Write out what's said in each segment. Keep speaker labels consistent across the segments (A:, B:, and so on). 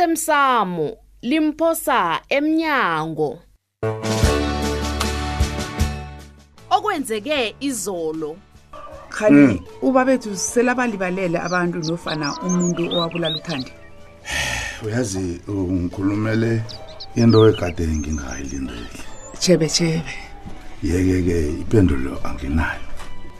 A: osemsamo limphosa emnyango okwenzeke izolo
B: khani uba bethu selabalibalele abantu nofana umuntu owabulala uthande
C: uyazi ngikhulumele into egade ngingayilindeli
B: chebechebe
C: yeke-ke ipendulo anginayo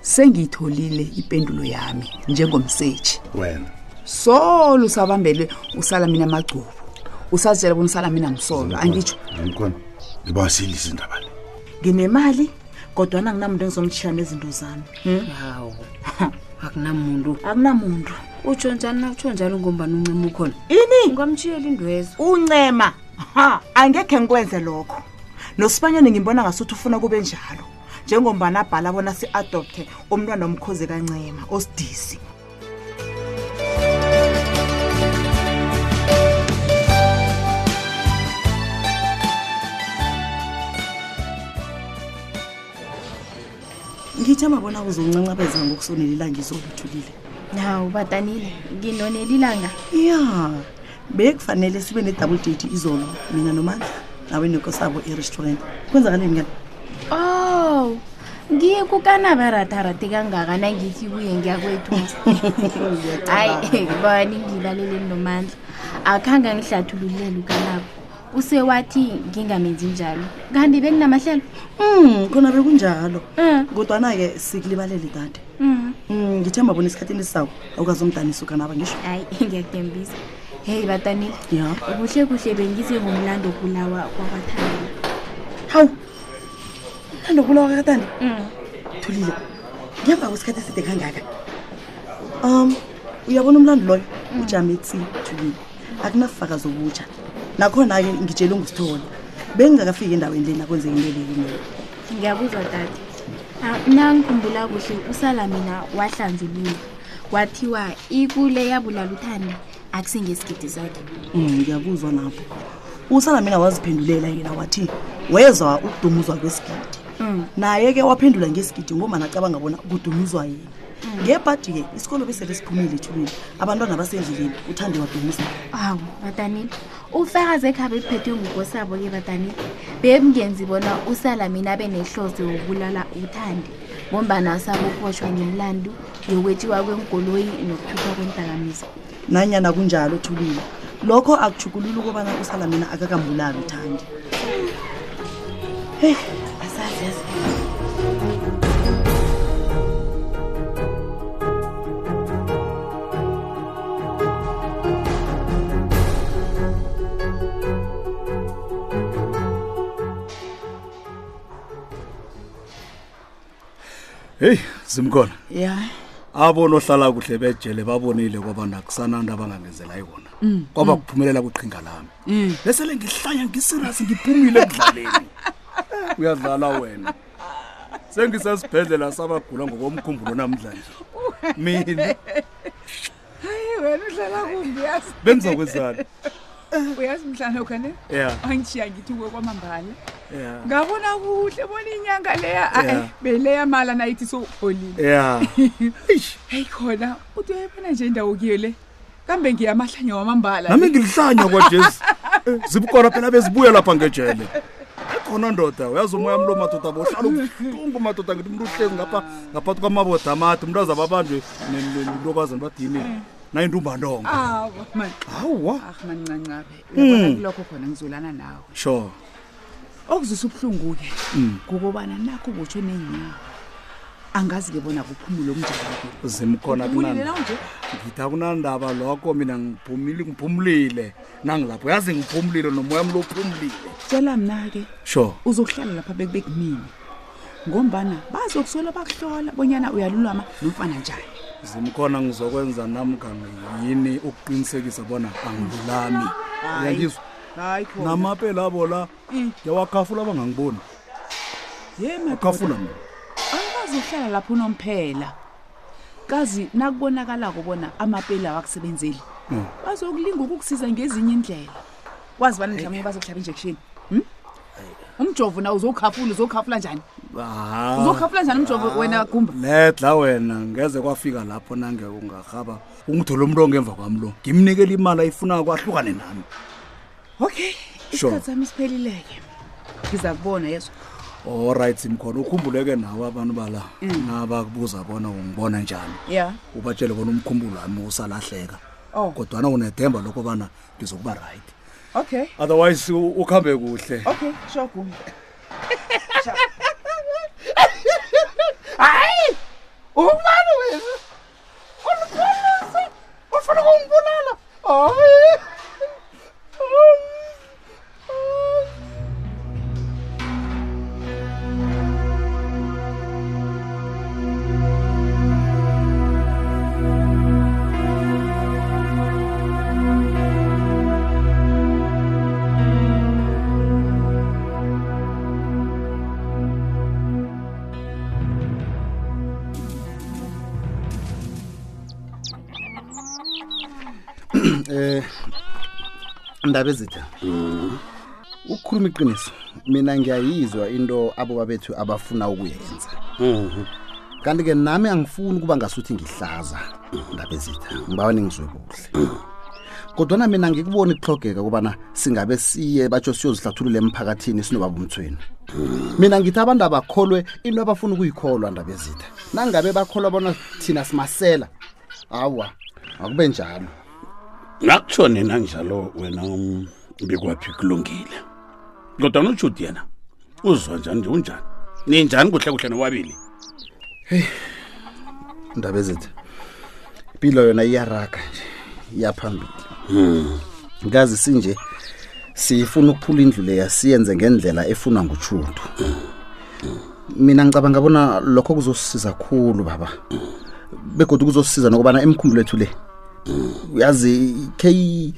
B: sengiyitholile ipendulo yami njengomseji
C: wena
B: solo usabambele usala mina amagcubu usazitshela bona usala mina msolo angitsho
C: angikhona ngiba silisa indaba le
D: nginemali kodwana anginamuntu engizomtshiyana izinto zami
E: hawu akunamuntu
D: akunamuntu
E: utsho njani nakutsho njalo ngombani uncima ukhona
D: ini
E: ungamtshiyela indwezo
D: uncema ha angekhe ngikwenze lokho nosibanyane ngimbona ngasuthi ufuna kube njalo njengombani abhala bona si-adopthe umntwana omkhozi kancema osidisi
F: ngithe mabona uzoncancabeza ngokusonelelanga izoluthulile
E: hawu badanile nginonelilanga
F: ya bekufanele sibe ne-double date izolo mina nomandla nawe nekosabo erestaurant kwenzakaleni ngani
E: oh ngiye kukanabaratarati kangaka nangithi kuye ngiyakwethu hayi bani ngilaleleni nomandla akhange angihlathululele ukanabo usewathi ngingamenzi njalo kanti bekunamahlelo
F: um khona bekunjalo
E: um
F: kodwana-ke sikulibalele dade
E: um
F: um ngithe mabona esikhathini esisako awukazi umdanisa ukanaba ngisho
E: hayi ngiyakudembisa heyi batanile
F: ya
E: kuhle kuhle bengize ngomlando bulawa kwakwathanda
F: hawu landobulawa kakatande
E: Mm.
F: thulile ngemva kwesikhathi eside kangaka um uyabona umlando loyo ujame tsi thulile akunafaka zokutsha nakhona-ke ngitshele ngusithole bengingakafiki endaweni lena kwenzeka into leyo
E: ngiyakuzwa dade Ah, nangikhumbula kuhle usala mina wahlanzulula wathiwa ikule yabulala uthandi akusingesigidi sakhe
F: Hmm, ngiyakuzwa napho usala mina waziphendulela yena wathi wezwa ukudumuzwa kwesigidi
E: Mm.
F: naye-ke waphendula ngesigidi ngomana acabanga bona kudumuzwa yena ngebhadi-ke isikolo besele siphumile ethulile abantwana basendleleni uthande wadumuza
E: hawu batanile ufakazi ekhabe ephethwe ngukosabo-ke batanile bemngenzi bona usala mina benehloso yokubulala uthandi ngombana sabophoshwa ngemlandu yokwetshiwa kwenkoloyi nokuthuthwa kwentakamizo
F: nanyana kunjalo thulile lokho akujukulula ukubana usala mina akakambulali uthandi heyi asazi yazi
G: heyi zimkhona
F: ya
G: abonohlala kuhle bejele babonile kwaba nakusananto abangangenzela yona
B: Mm,
G: kwaba kuphumelela kwiqhinga lami besele ngihlanya ngisirasi ngiphumile ekudlaleni Eh, uyadlala wena sengisesibhedlela sabagula ngokomkhumbulo namhlanje mina
B: wena udlala kumbi yazi Eh,
G: bendizokwenzani
B: uyazi mhlanokho ne
G: ya
B: angishiya ngithi kuwe kwamambala
G: ya
B: ngabona kuhle bona inyanga leya
G: Yeah.
B: ae beleya mala nayithi sowupholile
G: ya Eish,
B: heyi khona uthi uyayibona nje indawo kiyo le kambe ngiyamahlanya wamambala
G: nami ngilihlanya kwajesu Eh, zibukona phela bezibuya lapha ngejele ekhona ndoda uyazi umoya mlo madoda bohlala ubuhlungu madoda ngithi mntu uhlezi ngapha ngaphakathi kwamaboda amade mntu azabe abanjwe nilokazana badine nayintumbantongo
B: awa man
G: hawa
B: ahumancancabe
H: Hmm.
B: uyabona kulokho khona ngizolana nawe
G: sure
B: okuzwisa ubuhlungu-ke kukobana nakho botsho nenyawo angazi-ke bona kuphumule omnjani kuyo
G: zimkhona
B: Uphumulile
G: kunani-
B: na unje?
G: ngithi akunandaba lokho mina ngiphumile ngiphumlile nangilapho uyazi ngiphumlile nomoya mlo uphumlile
B: tshela mna-ke
G: sure
B: uzokuhlala lapha bekube kumini ngombana bazokusola bakuhlola bonyana uyalulama nomfana njani
G: zimkhona ngizokwenza namka yini ukuqinisekisa bona angilulami uyangizwa
B: hayi
G: namapela abo la yawakhafula abangangiboni
B: Mm. ye
G: akhafula mina
B: angazuhlala lapho unomphela kazi nakubonakalako bona amapeli awakusebenzeli bazokulinga ukukusiza ngezinye indlela wazi bani mhlawumbe bazokuhlaba injection umjovo na uzokhafula uzokhafula njani uzokhafula njani umjovo wena gumba
G: Ah, ledla wena ngeze kwafika lapho nange ungarhaba ungithola umntu ongemva kwam lo ngimnikela imali ayifunako ahlukane nami
B: okay
G: Sure.
B: isikhathi sami siphelileke ngiza kubona yezwa
G: allright simkhona ukhumbuleke nawe abantu bala
B: Mm.
G: nabakubuza bona ungibona njani
B: ya
G: ubatshele bona umkhumbulo wami usalahleka
B: Oh.
G: kodwana unethemba lokubana ngizokuba right
B: okay
G: otherwise u- ukhambe kuhle
B: okay sure gumba
D: umani wena uliqolisa ufuna ukungibulala
G: um ndaba ezitha ukukhuluma iqiniso mina ngiyayizwa into aboba bethu abafuna ukuyenza kanti-ke nami angifuni ukuba ngasuthi ngihlaza ndaba ezitha ngibawa ningizwe kuhle kodwana mina ngikuboni kuhlogeka ukubana singabe siye batsho siyozihlathulula emphakathini sinobaba umthweni mina ngithi abantu abakholwe into abafuna ukuyikholwa ndaba ezitha nangabe bakholwa bona thina simasela awa akube njalo
I: ngakutsho nina njalo wena um, bekwaphi kulungile kodwa nojudi yena uzwa njani nje unjani ninjani kuhle kuhle nobabili
G: ndaba ezithi impilo yona iyaraga nje iyaphambili
I: Hmm.
G: ngazi sinje siyifuna ukuphula indlu leya siyenze ngendlela efunwa nguchuntu
I: Hmm.
G: mina ngicabanga bona lokho kuzosisiza khulu baba
I: Hmm.
G: begodwa kuzosisiza nokubana imikhumbulo wethu le
I: Hmm.
G: uyazi khe-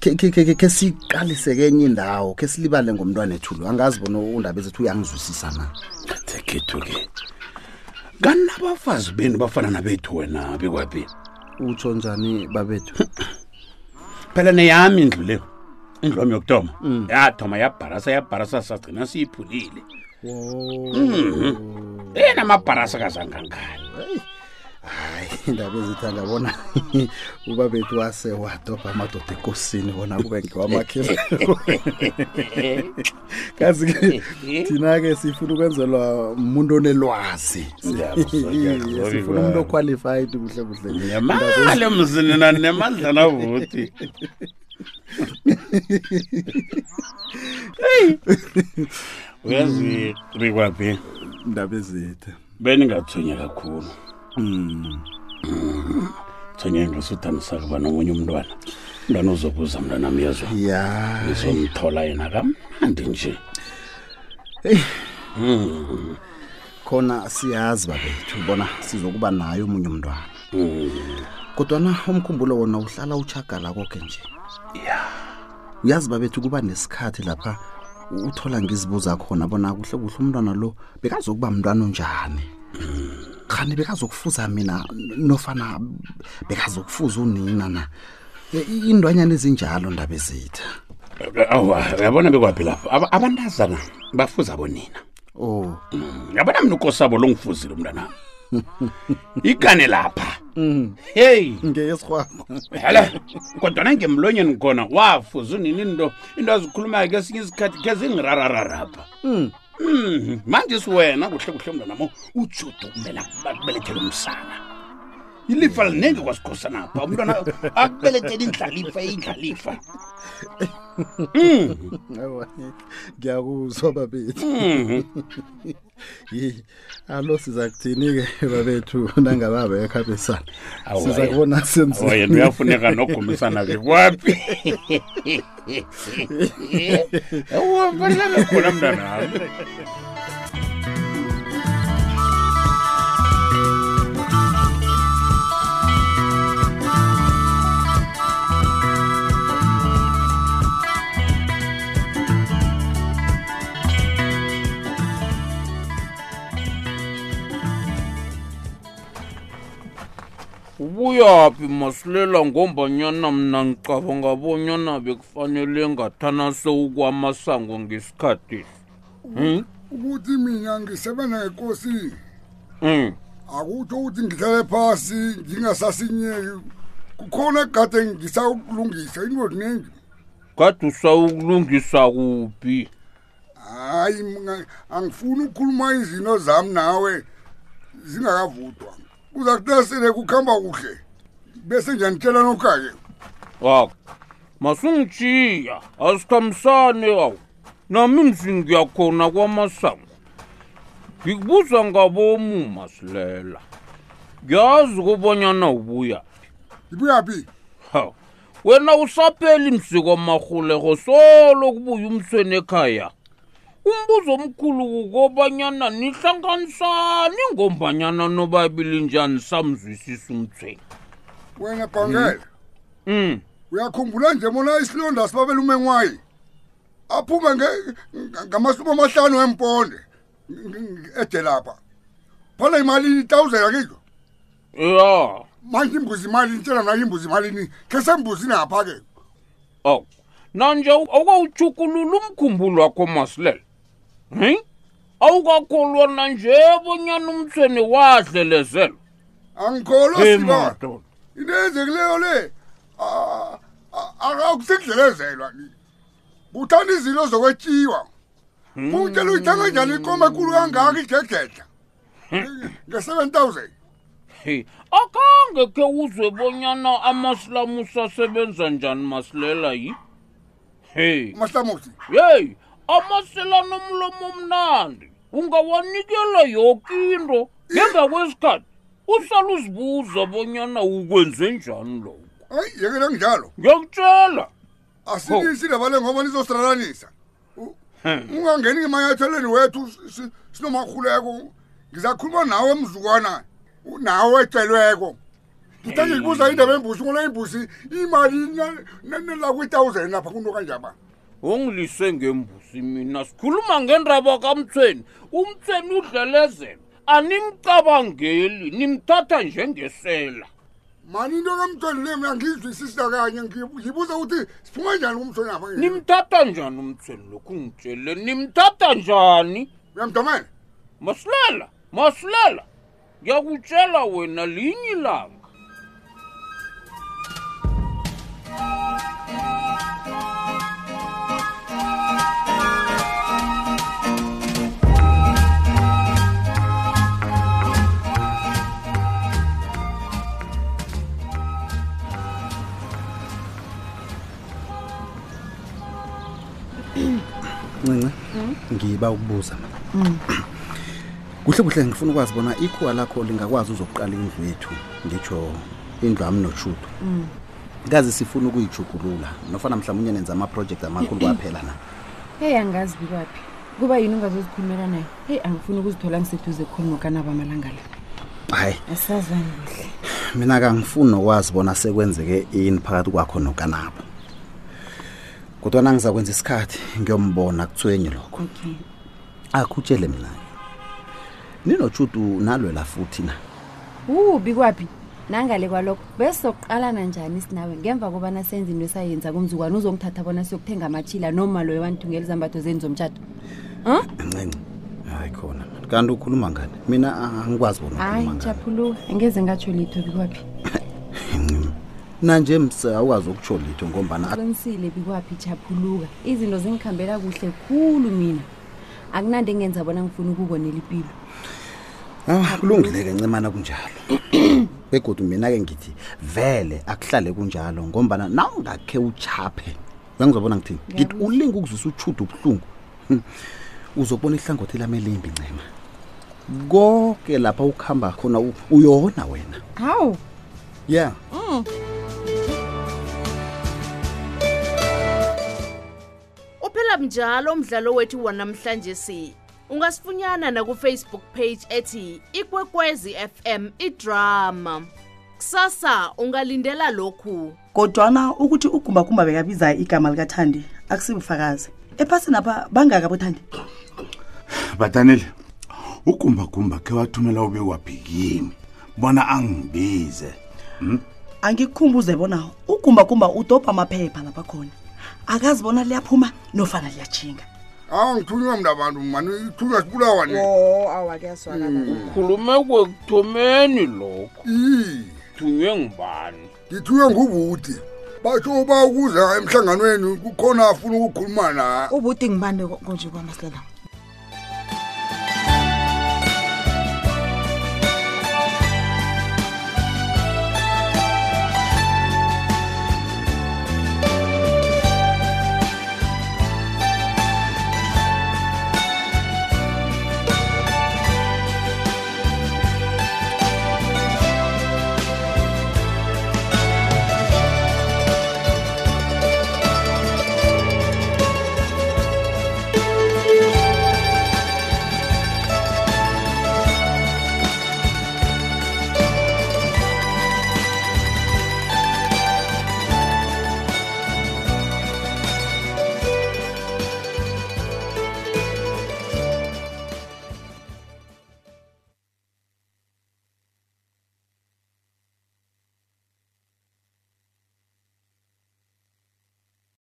G: khe- khe- khe- khe siqalise kenye indawo khe silibale ngomntwana ethu lo angazi bona undaba ezithi uyangizwisisa na
I: kathekhethu-ke kanabafazi beni bafana nabethu wena bekwaphi
G: utsho njani babethu
I: phela neyami indlu leyo indlu wami yokuthoma yathoma yabharasa yabharasa sagcina siyiphulile
G: Oh.
I: yena amabharasa kazangangani
G: hayi indaba ezithanga bona uba bethu wase wadobha amadoda ekosini bona kube ngiwamakhe kazi-ke thina-ke sifuna ukwenzelwa muntu onelwazi
I: Ngiyakuzwa, ngiyakuzwa,
G: sifuna umuntu oqualified kuhle kuhle
I: nemali emzini nani nemandla navuti uyazi rikwaphi
G: ndaba ezithe
I: beningathonya kakhulu Mm. thonya ngesuthanisaka uba nomunye umntwana umntwana uzokuza mntwanam yezwa
G: ya
I: ngizomthola yena kamnandi nje
G: khona siyazi babethu bona sizokuba naye omunye umntwana
I: Mm.
G: kodwana umkhumbulo wona uhlala uchagala konke nje ya uyazi babethu kuba nesikhathi lapha uthola ngizibuza khona bona kuhle kuhle umntwana lo bekazokuba mntwana onjani khani bekazokufuza mina nofana bekazokufuza unina na E- i- indwanyana ezinjalo ndaba ezitha
I: awa uyabona bekwaphi lapho Aba- abantazana bafuza bonina
G: o
I: yabona mina ukosabo lo ngifuzile umntanami ikane lapha
G: mm,
I: heyi
G: ngeyesirhwama
I: hela kodwana ngemlonyeni khona wafuza unini into into azikhulumayo kesinye isikhathi ke zingirarararapha Mhm. manje siwena kuhle kuhle umntanam ujude kumele akubelethele umsana ilifa linenge kwasikhosanapha umntwana akubelethele indlalifa indlalifa
G: Awa, ngiyakuzwa babethu
I: Mhm.
G: Yi, alo siza kuthini-ke babethu nangababekho abesana
I: Awa,
G: siza
I: yena.
G: kubona
I: Awa, yena
G: senzeni
I: uyafuneka nogumisana bekwaphi ufanelekhona mntanami
J: ubuyaphi masilela ngombanyana mna ngicabanga bonyana bekufanele ngathana sewukwamasango ngesikhathesi
K: ukuthi mina ngisebenza ngenkosini
J: Mm.
K: akutho ukuthi ngihlale phasi ngingasasinyeki kukhona egade ngisawukulungisa into ziningi
J: kade usawukulungisa kuphi
K: hayi mina angifuni ukukhuluma izinto zami nawe zingakavuthwa kuza kutesele kukhamba kuhle bese ngiyanitshela nokha-ke
J: wako masungitshiya asikhambisane awu nami mzingiyakhona kwamasango ngikubuza ngabomu masilela ngiyazi kobonyana ubuya
K: ngibuyaphi
J: hawu wena usapheli msikamarhuleko solo kubuya umsweni ekhaya umbuzo omkhulu kukobanyana nihlanganisani ngombanyana nobabili njani samzwisisa umthweni
K: wena bhangela
J: um
K: uyakhumbula nje mona isilonda sibabela umengwayi aphume nge- nga- ngamasumi amahlanu emponde ng- ng- edelapha phana imali itawuze yakizwa
J: ya
K: manje imbuzi imali intshela nayo imbuzi imalini khe sembuzini apha ke
J: aw nanje awukawuchukulula umkhumbulo wakho masilela hi awukakholwa nanje bonyana umthweni wadlelezelwa
K: angikholwa
J: Eh,
K: siba
J: madoda.
K: into eyenzekileyo le a- a- a- akusekudlelezelwa ni kuthanda izinto zokwetyiwa kutshela uyithanga njani ikoma ekulu kangaka idledledla nge-seven thousand
J: Hey, akange ke uzwe bonyana amasilamu sasebenza njani masilela yi hey
K: mahlamusi
J: hey amasela nomlomo omnandi ungawanikela yoke into ngemva kwesikhathi usala uzibuza bonyana ukwenze njani lokho
K: hayi yekela njalo
J: ngiyakutshela Ho.
K: asilisindabale ngoba nizosilalanisa ungangeni emanyathelweni wethu si- si- sinomarhuleko ngizakhuluma nawe mzukwana u- nawe ecelweko ngithe ngikubuza indaba embusi ngole imbusi imali nelakwi-thousand lapha kunto kanjaba
J: ungilise ngembusi mina sikhuluma ngendaba kamthweni umthweni udlelezela animcabangeli nimthatha njengesela
K: mani into kamthweni le mna ngiyizwisisisa kanye ngi- ngibuza ukuthi siphuma njani kumthweni apha nge-
J: nimthatha njani umthweni lokhu ngitshele nimthatha njani
K: uyamdomela
J: masilela masilela ngiyakutshela wena linye ilanga
G: ncinci ngiba ukubuza mina kuhle kuhle ngifuna ukwazi bona ikhuwa lakho lingakwazi uzokuqala indlu yethu ngitsho indlu ami noshudo kazi sifuna ukuyijugulula nofana mhlawumbe unye nenza amaprojekt amakhulu kwaphela na
H: heyi angazi bikwaphi kuba yini ungazozikhulumela nayo heyi angifuni ukuzithola ngiseduze kukhuluma kanabo amalanga la
G: hayi
H: asazani kuhle
G: mina kangifuni nokwazi bona sekwenzeke ini phakathi kwakho nokanabo kodwana ngizakwenza isikhathi ngiyombona kuthwenye lokho
H: okay
G: akhutshele mina ninotshudu nalwela futhi na
H: wu bikwaphi nangale kwalokho besizokuqalana njani sinawe ngemva kobana senza into esayenza kumzukwane uzongithatha bona siyokuthenga amatshila noma loyo wanithungela izambatho zeni zomtshato
G: ncinci hayi khona kanti ukhuluma ngani mina angikwazi bona
H: hayi
G: ukhuluma ngani
H: ngijaphuluka angeze ngatsho litho bikwaphi
G: nanje msa awukwazi ukutsho litho ngombana
H: qinisile bikwaphi japhuluka izinto zingikhambela kuhle khulu mina akunandi engenza bona ngifuna ukukonela ipilo
G: Ah, kulungile-ke ncemana kunjalo begodu mina-ke ngithi vele akuhlale kunjalo ngombana nawungakhe uchaphe uyangizobona ngithini ngithi
H: Ngiyakuzwa.
G: ulinge ukuzwisa utshuda ubuhlungu Hmm. uzobona ihlangothi lami elimbi ncema konke lapha ukuhamba khona u- uyona wena
H: hawu
G: ya
A: uphela mnjalo umdlalo wethu wanamhlanje si ungasifunyana nakufacebook page ethi ikwekwezi fm idrama kusasa ungalindela lokhu
F: kodwana ukuthi ugumbagumba bekabiza igama likathandi akusibufakazi ephasini apha bangaka bothandi
C: batanile ugumbagumba khe wathumela ube wabhikini bona angibize
F: angikukhumbuze bona ugumbagumba udobha amaphepha lapha khona akazi bona liyaphuma nofana liyajinga
K: hawu ngithunywa mna abantu mani ithunywa sibulawa ne
F: o awakuyazwakala
I: ukhulume kwekuthomeni lokho
K: Ii.
I: thunywe ngubani
K: ngithunywe ngubude batsho uba ukuza emhlanganweni kukhona afuna ukukhuluma na
F: ubuti ngibane konje kwamasela